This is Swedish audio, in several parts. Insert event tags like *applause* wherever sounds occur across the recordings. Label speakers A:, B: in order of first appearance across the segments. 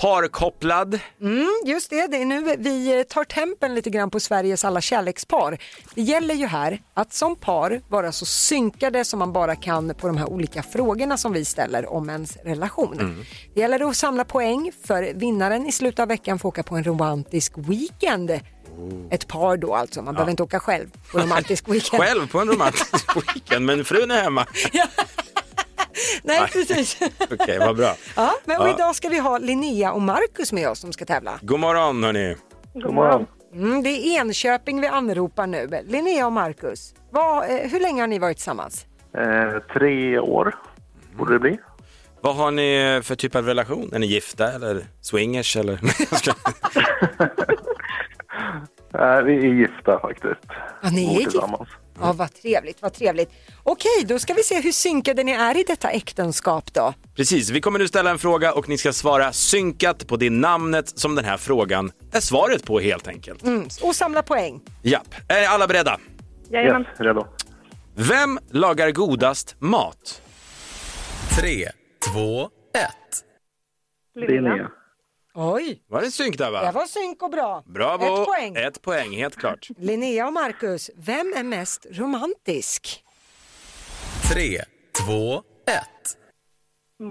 A: Parkopplad.
B: Just det, det är nu vi eh, tar tempen lite grann på Sveriges alla kärlekspar. Det gäller ju här att som par vara så synkade som man bara kan på de här olika frågorna som vi ställer om ens relation.
A: Mm.
B: Det gäller att samla poäng för vinnaren i slutet av veckan får åka på en romantisk weekend.
A: Oh.
B: Ett par då alltså, man behöver inte åka själv
A: *laughs*
B: på romantisk weekend.
A: Själv på en
B: *laughs*
A: romantisk weekend, men frun är hemma.
B: Nej,
A: *laughs*
B: precis.
A: Okej, vad bra.
B: Ja, men och
A: Ja.
B: idag ska vi ha Linnea och Marcus med oss som ska tävla.
A: God morgon hörni.
C: God morgon.
B: Mm, det är Enköping vi anropar nu. Linnea och Marcus, vad, eh, hur länge har ni varit tillsammans?
C: Eh, tre år borde det bli.
A: Vad har ni för typ av relation? Är ni gifta eller swingers eller? *laughs* Nej, jag skojar.
C: Eh, vi är gifta faktiskt.
B: Ja, ni
C: Bor
B: är gifta.
C: tillsammans.
B: Ja, vad trevligt, vad trevligt. Okej, då ska vi se hur synkade ni är i detta äktenskap då.
A: Precis, vi kommer nu ställa en fråga och ni ska svara synkat på det namnet som den här frågan är svaret på helt enkelt.
B: Mm, och samla poäng.
A: Japp, är alla beredda?
C: Yes, redo.
A: Vem lagar godast mat?
D: Tre, två, ett.
C: Linnea.
B: Oj,
A: Var det synk där
B: det
A: va?
B: var synk och bra.
A: Bravo!
B: Ett poäng.
A: Ett poäng, helt klart.
B: Linnea och Marcus, vem är mest romantisk?
D: Tre, två, ett.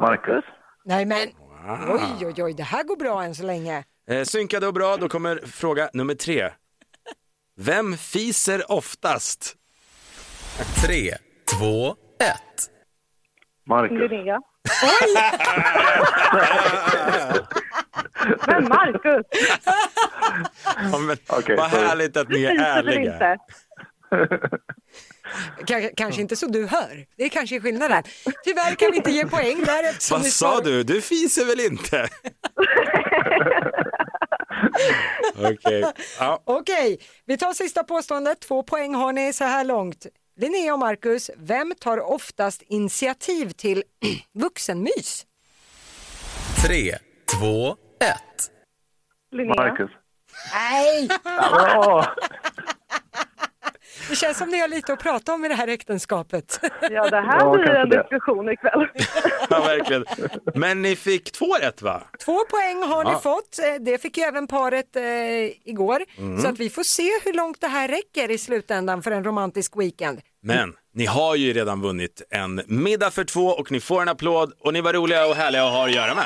C: Marcus.
B: Nej men, oj oj oj, det här går bra än så länge.
A: Eh, synkade och bra, då kommer fråga nummer tre. Vem fiser oftast?
D: Tre, två, ett.
C: Marcus.
E: Linnea.
C: *laughs*
E: Men Marcus,
A: Ja, men,
C: Okej,
A: vad
C: sorry.
A: härligt att ni är
E: fiser väl
A: ärliga.
E: inte?
B: K- kanske inte så du hör, det är kanske skillnaden. Tyvärr kan vi inte ge poäng där eftersom
A: *laughs* Vad
B: ni
A: sa
B: svarar-
A: du? Du fiser väl
E: *laughs*
A: inte? Okej. Ja,
B: Okej, vi tar sista påståendet. Två poäng har ni så här långt. Linnea och Marcus, vem tar oftast initiativ till *clears throat* vuxenmys?
D: Tre, två, ett.
E: Linnea.
C: Marcus.
B: Nej,
C: Ja,
B: det känns som ni har lite att prata om i det här äktenskapet. *laughs*
E: Ja, det här
C: Ja,
E: blir
C: kanske
E: en
C: det.
E: diskussion ikväll.
A: ja, verkligen. Men ni fick två rätt va?
B: Två poäng har ni
A: Ja.
B: fått. Eh, Det fick ju även paret eh, igår. Så att vi får se hur långt det här räcker i slutändan för en romantisk weekend.
A: Men ni har ju redan vunnit en middag för två och ni får en applåd och ni var roliga och härliga att ha att göra med.